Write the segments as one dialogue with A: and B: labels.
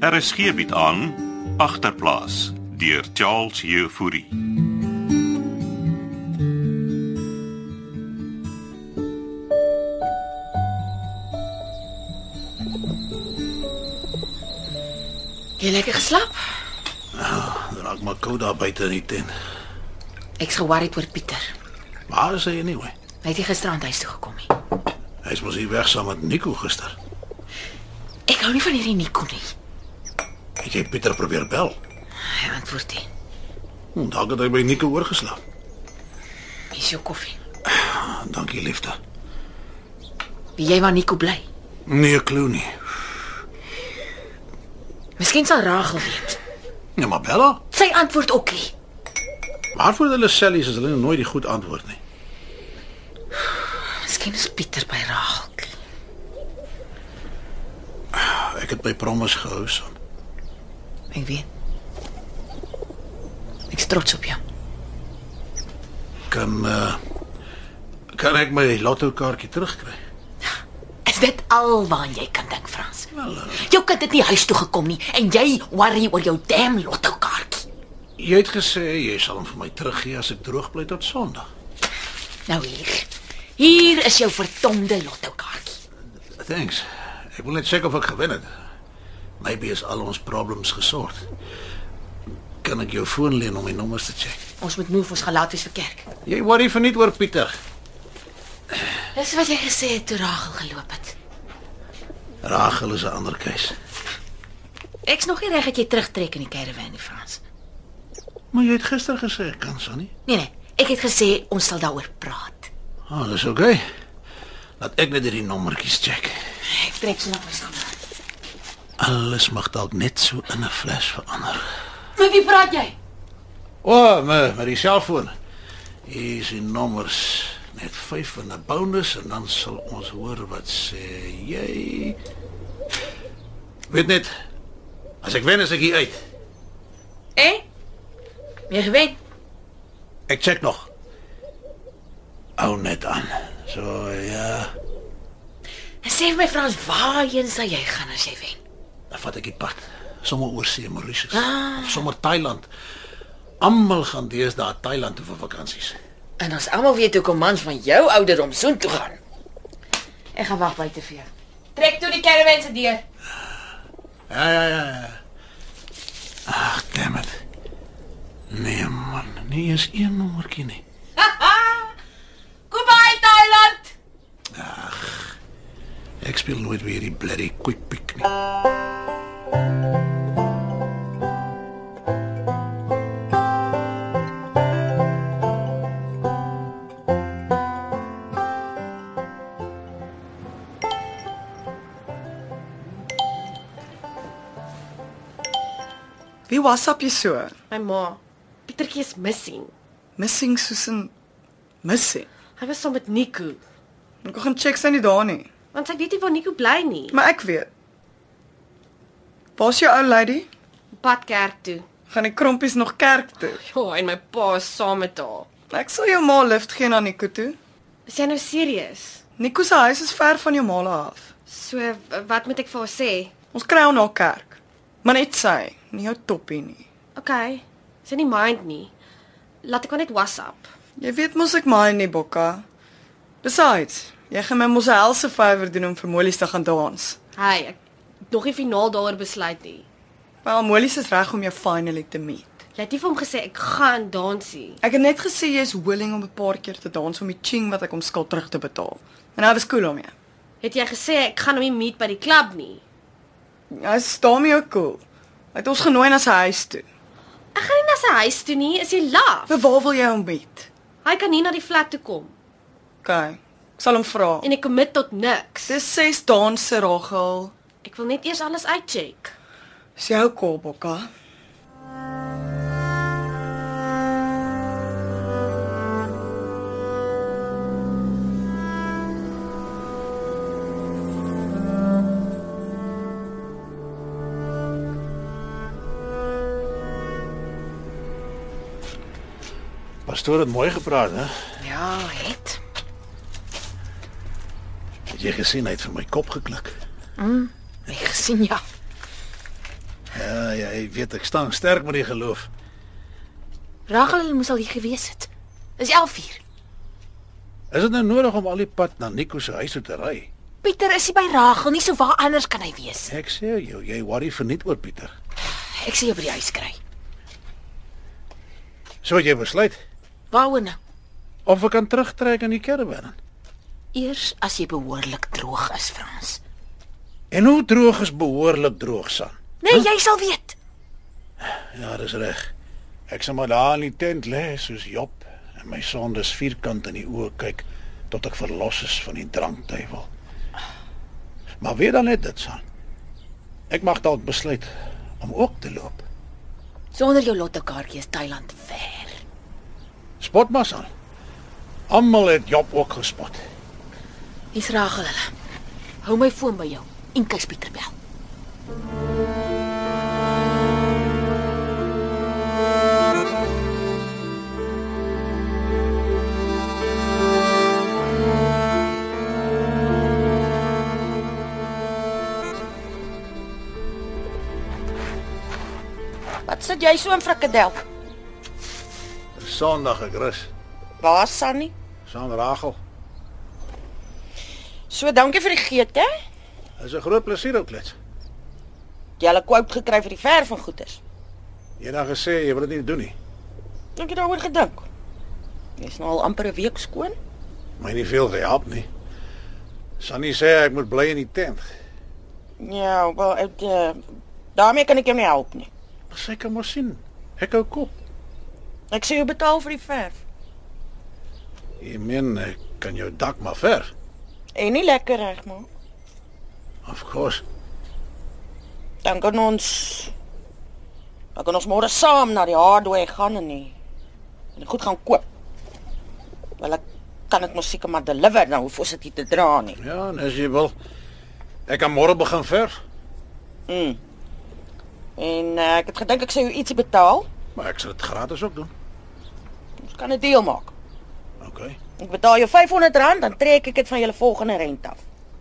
A: RSG bied Er aan agterplaas deur Charles Jefouri.
B: Jy lekker geslaap?
C: Raak maar koud daar buite in die tent.
B: Ek's ge-worried oor Pieter.
C: Waar is hy anyway?
B: Hy het nie gisterand huis toe gekom nie.
C: Hy's mos hier weg saam met Nico gister.
B: Ek hou nie van hierdie Nico nie.
C: Het jy Pieter probeer bel?
B: Hy antwoord nie.
C: Hm, dalk het hy by Nico oorgeslaap.
B: Hier is jou koffie.
C: Ah, Dankie liefde.
B: Wie jy maar Nico bly.
C: Nee, klou nie.
B: Miskien sal Rachel weet.
C: Ja, maar bel haar.
B: Sy antwoord ook nie.
C: Waarvoor hulle sellies as hulle nooit die goed antwoord nie.
B: Miskien is Pieter by Rachel.
C: Ek het my promise gehou son.
B: Ek weet. Ek's trots op jou.
C: Kan uh, kan ek my lotto kaartjie terugkry?
B: Is dit alwaar jy kan dink, Frans?
C: Wel, eh,
B: Jou kind het nie huis toe gekom nie en jy worry oor jou damn lotto kaartjie.
C: Jy het gesê jy sal hom vir my teruggee as ek droog bly tot Sondag.
B: Nou hier. Hier is jou verdomde lotto kaartjie.
C: Thanks. Ek wil net seker of ek gewen het. Maybe is al ons problems gesort. Kan ek jou foon leen om my nommers te check?
B: Ons moet move, ons gaan laat wees vir kerk.
C: Jy worry verniet oor Pieter.
B: Dis wat jy gesê het toe Rachel geloop het.
C: Rachel is 'n ander keuse.
B: Ek's nog nie reg dat jy terugtrek in die caravan nie, Frans.
C: Maar jy het gister gesê ek kan Sonny.
B: Nee nee, ek het gesê ons sal daaroor praat.
C: Ah, oh, dis oké. Laat ek net hierdie nommertjies check.
B: Ek trek sonder my skouer.
C: Alles mag dalk net so in 'n flash verander.
B: Met wie praat jy?
C: O, oh, maar met die selfoon. Hier is die nommers. Net 5 en 'n bonus en dan sal ons hoor wat sê jy. Weet net as ek wen is ek hier uit.
B: Eh? Jy gewen.
C: Ek check nog. Hou net aan. So ja,
B: En sê vir my Frans, waarheen sal jy gaan as jy wen?
C: dan vat ek die pad. Sommige oor see Mauritius,
B: Ah.
C: ah. sommer Thailand. Almal gaan deesdae Thailand toe vir vakansies.
B: En ons almal weet hoe kom mans van jou ouderdom soontoe gaan. Ek gaan wag buite vir jou. Trek toe die caravan se deur.
C: Ja, ja, ja. ja. Ag, damn it. Nee man, nie eens een nommertjie nie.
B: Goodbye Thailand.
C: Ek speel nooit weer die bloody quick pick nie.
D: Wie WhatsApp jy so?
E: My ma, Pietertjie is missing.
D: Missing Susan. Missing.
E: Hy was saam met Nico,
D: Ek gaan check sy nie daar nie,
E: want ek weet nie waar Nico bly nie.
D: maar ek weet. Waar's jou ou lady?
E: Pad kerk toe.
D: Gaan die krompies nog kerk toe?
E: Ja, en my pa is saam met haar.
D: Ek sal jou ma lift gee na Nico toe.
E: Is jy nou serieus?
D: Nico se huis is ver van jou ma se af.
E: So w- wat moet ek vir haar sê?
D: Ons kry hom na kerk. Maar net sy, nie jou toppie nie.
E: OK. Sy nie mind nie. Laat ek haar net WhatsApp.
D: Jy weet mos ek my nie bokka. Besides, jy gaan my mos 'n helse favour doen om vir Molies te gaan dans.
E: Hey, ek het nog nie finaal daaroor besluit nie.
D: Wel Molies is reg om jou finally te meet.
E: Jy het nie vir hom gesê ek gaan dansie.
D: Ek het net gesê jy is willing om 'n paar keer te dans om die ching wat ek hom skuld terug te betaal. En hy was cool daarmee.
E: Het jy gesê ek gaan hom nie meet by die klub nie?
D: Hy staan my ook cool. Hy het ons genooi na sy huis toe.
E: Ek gaan nie na sy huis toe nie, is jy laf?
D: Maar waar wil jy hom meet?
E: Hy kan nie na die flat toe kom
D: OK. Ek sal hom vra.
E: en ek commit tot niks.
D: Dis ses danse Rachel.
E: Ek wil net eers alles uitcheck.
D: Dis jou call bokka.
C: Pastoor het mooi gepraat, hè?
B: Ja, het.
C: Het jy gesien hy het vir my kop geklik?
B: Ek gesien ja.
C: Ja, ja, ek weet ek staan sterk met die geloof.
B: Rachel hulle moes al hier gewees het. Is 11uur.
C: Is dit nou nodig om al die pad na Nico se huis toe te ry?
B: Pieter is nie by Rachel nie, so waar anders kan hy wees?
C: Ek sê jou, jy worry verniet oor Pieter.
B: Ek sê jou by die huis kry.
C: So jy besluit
B: Waaroor nou?
C: of ek kan terugtrek in die karavan.
B: Eers as jy behoorlik droog is, Frans.
C: En hoe droog is behoorlik droog san?
B: Nee, jy sal weet.
C: Ja, dis reg. Ek sal maar daar in die tent lê soos Job en my sondes vierkant in die oë kyk tot ek verlos is van die drankduiwel. Maar weet dan net dit son. Ek mag dalk besluit om ook te loop.
B: Sonder jou lottokaartjie is Thailand ver.
C: Spot maar son. Almal het Job ook gespot.
B: Hier's Rachel hulle. Hou my foon by jou en kies Pieter bel.
F: Wat sit jy so in frikadel?
C: Sondag ek rus.
F: Waar Sannie?
C: Son Ragel.
F: So dankie vir die geete.
C: Is 'n groot plesier ook klets.
F: Jy het 'n quote gekry vir die verf van goeder.
C: Jy het dan gesê jy wil dit nie doen nie.
F: Dink jy daaroor gedink? Jy's nou al amper 'n week skoon.
C: Maar nie veel gehelp nie. Sunny sê ek moet bly in die tent.
F: Ja, wel ek uh, daarmee kan ek jou nie help nie.
C: Maar sy kan maar sien. Ek hou kop.
F: Ek sê jy betaal vir die verf.
C: Jy meen ek eh, kan jou dak maar ver.
F: En nie lekker reg maar.
C: Of course.
F: Dan kan ons dan kan ons môre saam na die hardware gaan en nie. En goed gaan koop. Wel ek kan dit mos seker maar deliver nou hoef ons dit nie te dra nie.
C: Ja, en as jy wil. Ek kan môre begin ver,
F: En uh, ek het gedink ek sou jou ietsie betaal.
C: maar ek sal dit gratis ook doen.
F: Ons kan 'n deal maak.
C: OK.
F: Ek betaal jou R500 dan trek ek dit van julle volgende rente af.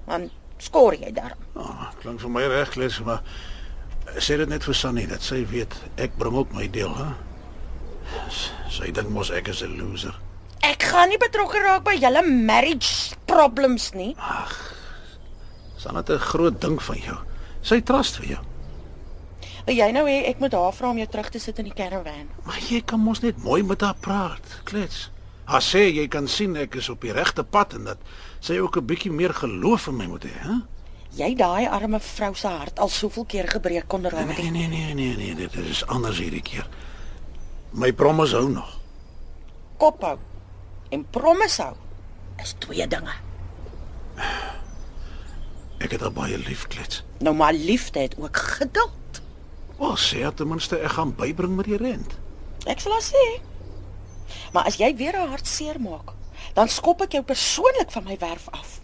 F: Dan skoor jy daar.
C: Ah, klink vir my reg, klets, maar eh, sê dit net vir Sunny dat sy weet ek bring ook my deel, hè. S- Sy dink mos ek is 'n loser.
F: Ek gaan nie betrokke raak by julle marriage problems nie.
C: San dit 'n groot ding van jou. Sy trust vir jou.
F: Wil jy nou hê ek moet haar vra om jou terug te sit in die caravan?
C: Maar jy kan mos net mooi met haar praat, klets. Haar sê jy kan sien ek is op die regte pad en dat sy ook 'n bietjie meer geloof in my moet hê, hè?
F: Jy daai arme vrou se hart al soveel keer gebreek onder haar met die
C: Nee nee nee nee nee, dit is anders hierdie keer. My promise hou nog.
F: kop hou en promise hou. Is twee dinge.
C: Ek het haar baie lief, klets.
F: Nou maar liefde het ook geduld.
C: Wel, sê haar ten minste ek gaan bybring met die rent.
F: Ek sal haar sê. Maar as jy weer haar hart seermaak, dan skop ek jou persoonlik van my werf af.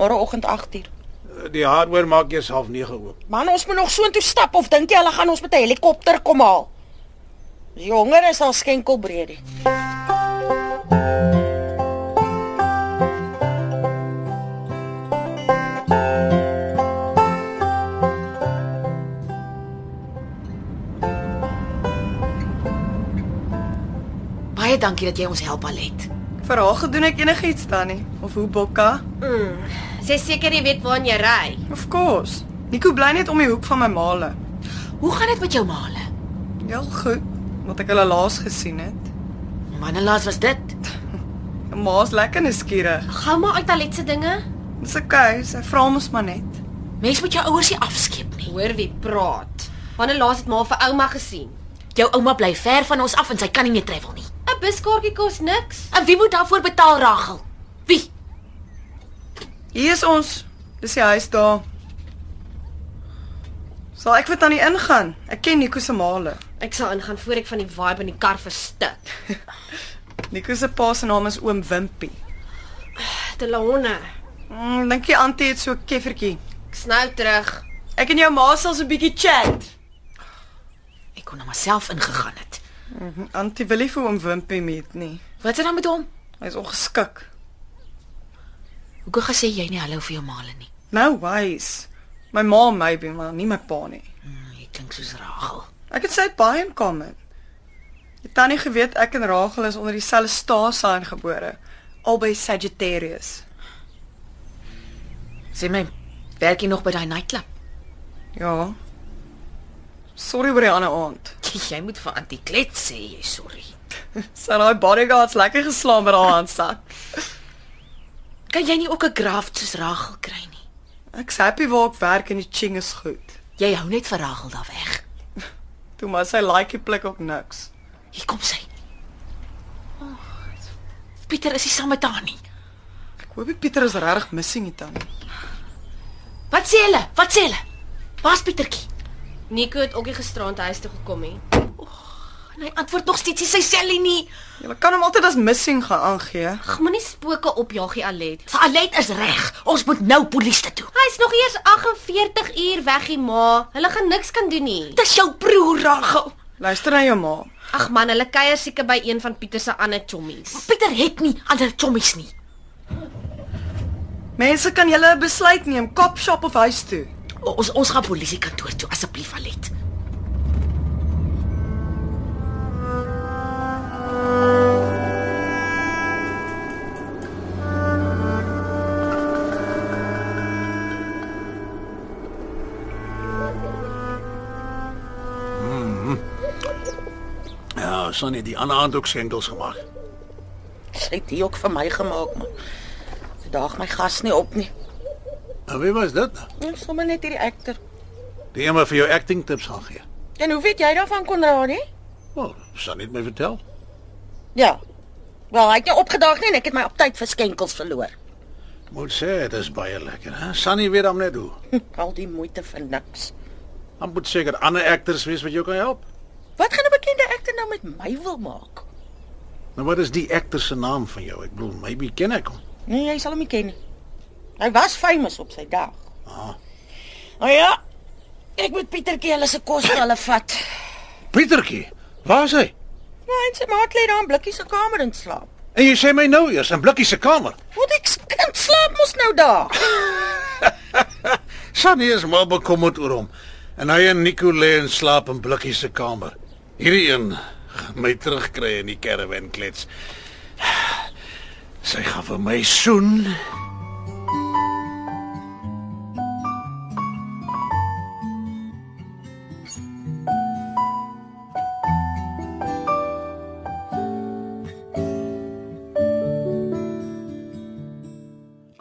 F: Môreoggend 8uur.
C: Die hardware maak eers half 9 oop.
F: Man, ons moet nog soontoe stap of dink jy hulle gaan ons met 'n helikopter kom haal? Die honger is al skenkelbreedie.
B: Baie dankie dat jy ons help al het.
D: Vir haar gedoen ek enigiets dan nie. Of hoe Bokka?
B: Sy seker jy weet waarheen jy ry.
D: Of course. Nico bly net om die hoek van my maale.
B: Hoe gaan dit met jou maale?
D: Heel goed, wat ek hulle laas gesien het.
B: Wanneer laas was dit?
D: Ma's lekker nuuskierig.
B: Gou maar uit Alet se dinge.
D: Dis okay, sy vra mos maar net.
B: Mens moet jou ouers nie afskeep nie. Hoor wie praat. Wanneer laas het ma vir ouma gesien? Jou ouma bly ver van ons af en sy kan nie meer travel nie. 'n Buskaartjie kos niks. En wie moet daarvoor betaal, Rachel? Wie?
D: Hier is ons. Dis die huis daar. Sal ek vir tannie ingaan? Ek ken Nico se maale.
B: Ek sal ingaan voor ek van die vibe in die kar verstik.
D: Nico se pa se naam is oom Wimpie.
B: Te lahonne.
D: Mm, dink jy Antie het so 'n keffertjie?
B: Ek
E: nou
B: snou terug.
D: Ek en jou ma sal so 'n bietjie chat.
B: Ek kon na myself ingegaan het.
D: Antie wil nie vir oom Wimpie meet nie.
B: Wat is er dan met hom?
D: Hy's ongeskik.
B: Hoekom gesê jy nie hallo vir jou maale nie?
D: Nou wys. My ma maybe, maar nie my pa nie.
B: Hmm, Jy klink soos Ragel.
D: Ek het sy baie in kamer. Het tannie geweet ek en Rachel is onder dieselfde stasie aangebore, albei Sagittarius.
B: Sê my, werk jy nog by daai nightclub?
D: Ja. Sorry oor die ander aand.
B: Jy moet vir Antie klets sê jy sorry.
D: Sy het daai bodyguards lekker geslaan met haar handsak.
B: Kan jy nie ook 'n graft soos Ragel kry nie?
D: Ek's happy waar ek werk en die ching is goed.
B: Jy hou net vir Ragel daar weg.
D: Toe maar sy like die plek op niks.
B: Hier kom sy. Oh, Pieter is nie saam met haar nie.
D: Ek hoop die Pieter is regtig missing hier dan.
B: Wat sê hulle? Wat sê hulle? Waar's Pietertjie?
E: Nico het ook nie gisterand huis toe gekom nie.
B: En hy antwoord nog steeds nie sy Sally nie.
D: Jy kan hom altyd as missing gaan aangee.
E: Ag, moenie spooke opjaag nie, Alet.
B: Alet is reg. Ons moet nou polisie toe.
E: Hy's nog eers 48 uur weg, die ma. Hulle gaan niks kan doen nie.
B: Dis jou broer Ragel.
D: Luister na jou ma.
E: Ag man, hulle kuier seker by een van Pieter se ander chommies.
B: Pieter het nie ander chommies nie.
D: Mense kan julle 'n besluit neem, kop shop of huis toe.
B: O- Ons ons gaan polisie kantoor toe asseblief Alet.
C: Ja, Sonny, die ander aand ook sendels gemaak.
F: Sy het hier ook vir my gemaak, maar daag my gas nie op nie.
C: En wie was dit? nou?
F: Ja, sommer net hierdie akter.
C: Die een wat vir jou acting tips gaan gee.
F: En hoe weet jy daarvan Konrad, hè?
C: Wel, Sonny het my vertel.
F: Ja. Wel, hy het nie opgedaag nie en ek het my op tyd vir skenkels verloor.
C: Moet sê dit is baie lekker, hè? Sonny weet hom net hoe.
F: Hm, Al die moeite vir niks.
C: Dan moet seker ander actors wees wat jou kan help.
F: Wat gaan 'n bekende akter nou met my wil maak?
C: Nou wat is die actor se naam van jou? Ek bedoel, maybe ken ek hom.
F: Nee, jy sal hom nie ken nie. Hy was famous op sy dag.
C: Ah.
F: Nou ja. Ek moet Pietertjie hulle se kos vir hulle vat.
C: Pietertjie, waar is hy?
F: Nou, en sy maat lê daar in blikkie se kamer en slaap.
C: En jy sê my nou eers in Blikkie se kamer.
F: Wat ek se kind slaap mos nou daar.
C: Sonny is maar bekommerd oor hom. En hy en Nico lê en slaap in Blikkie se kamer. Hierdie een gaan my terugkry in die caravan klets. Sy gaan vir my soen.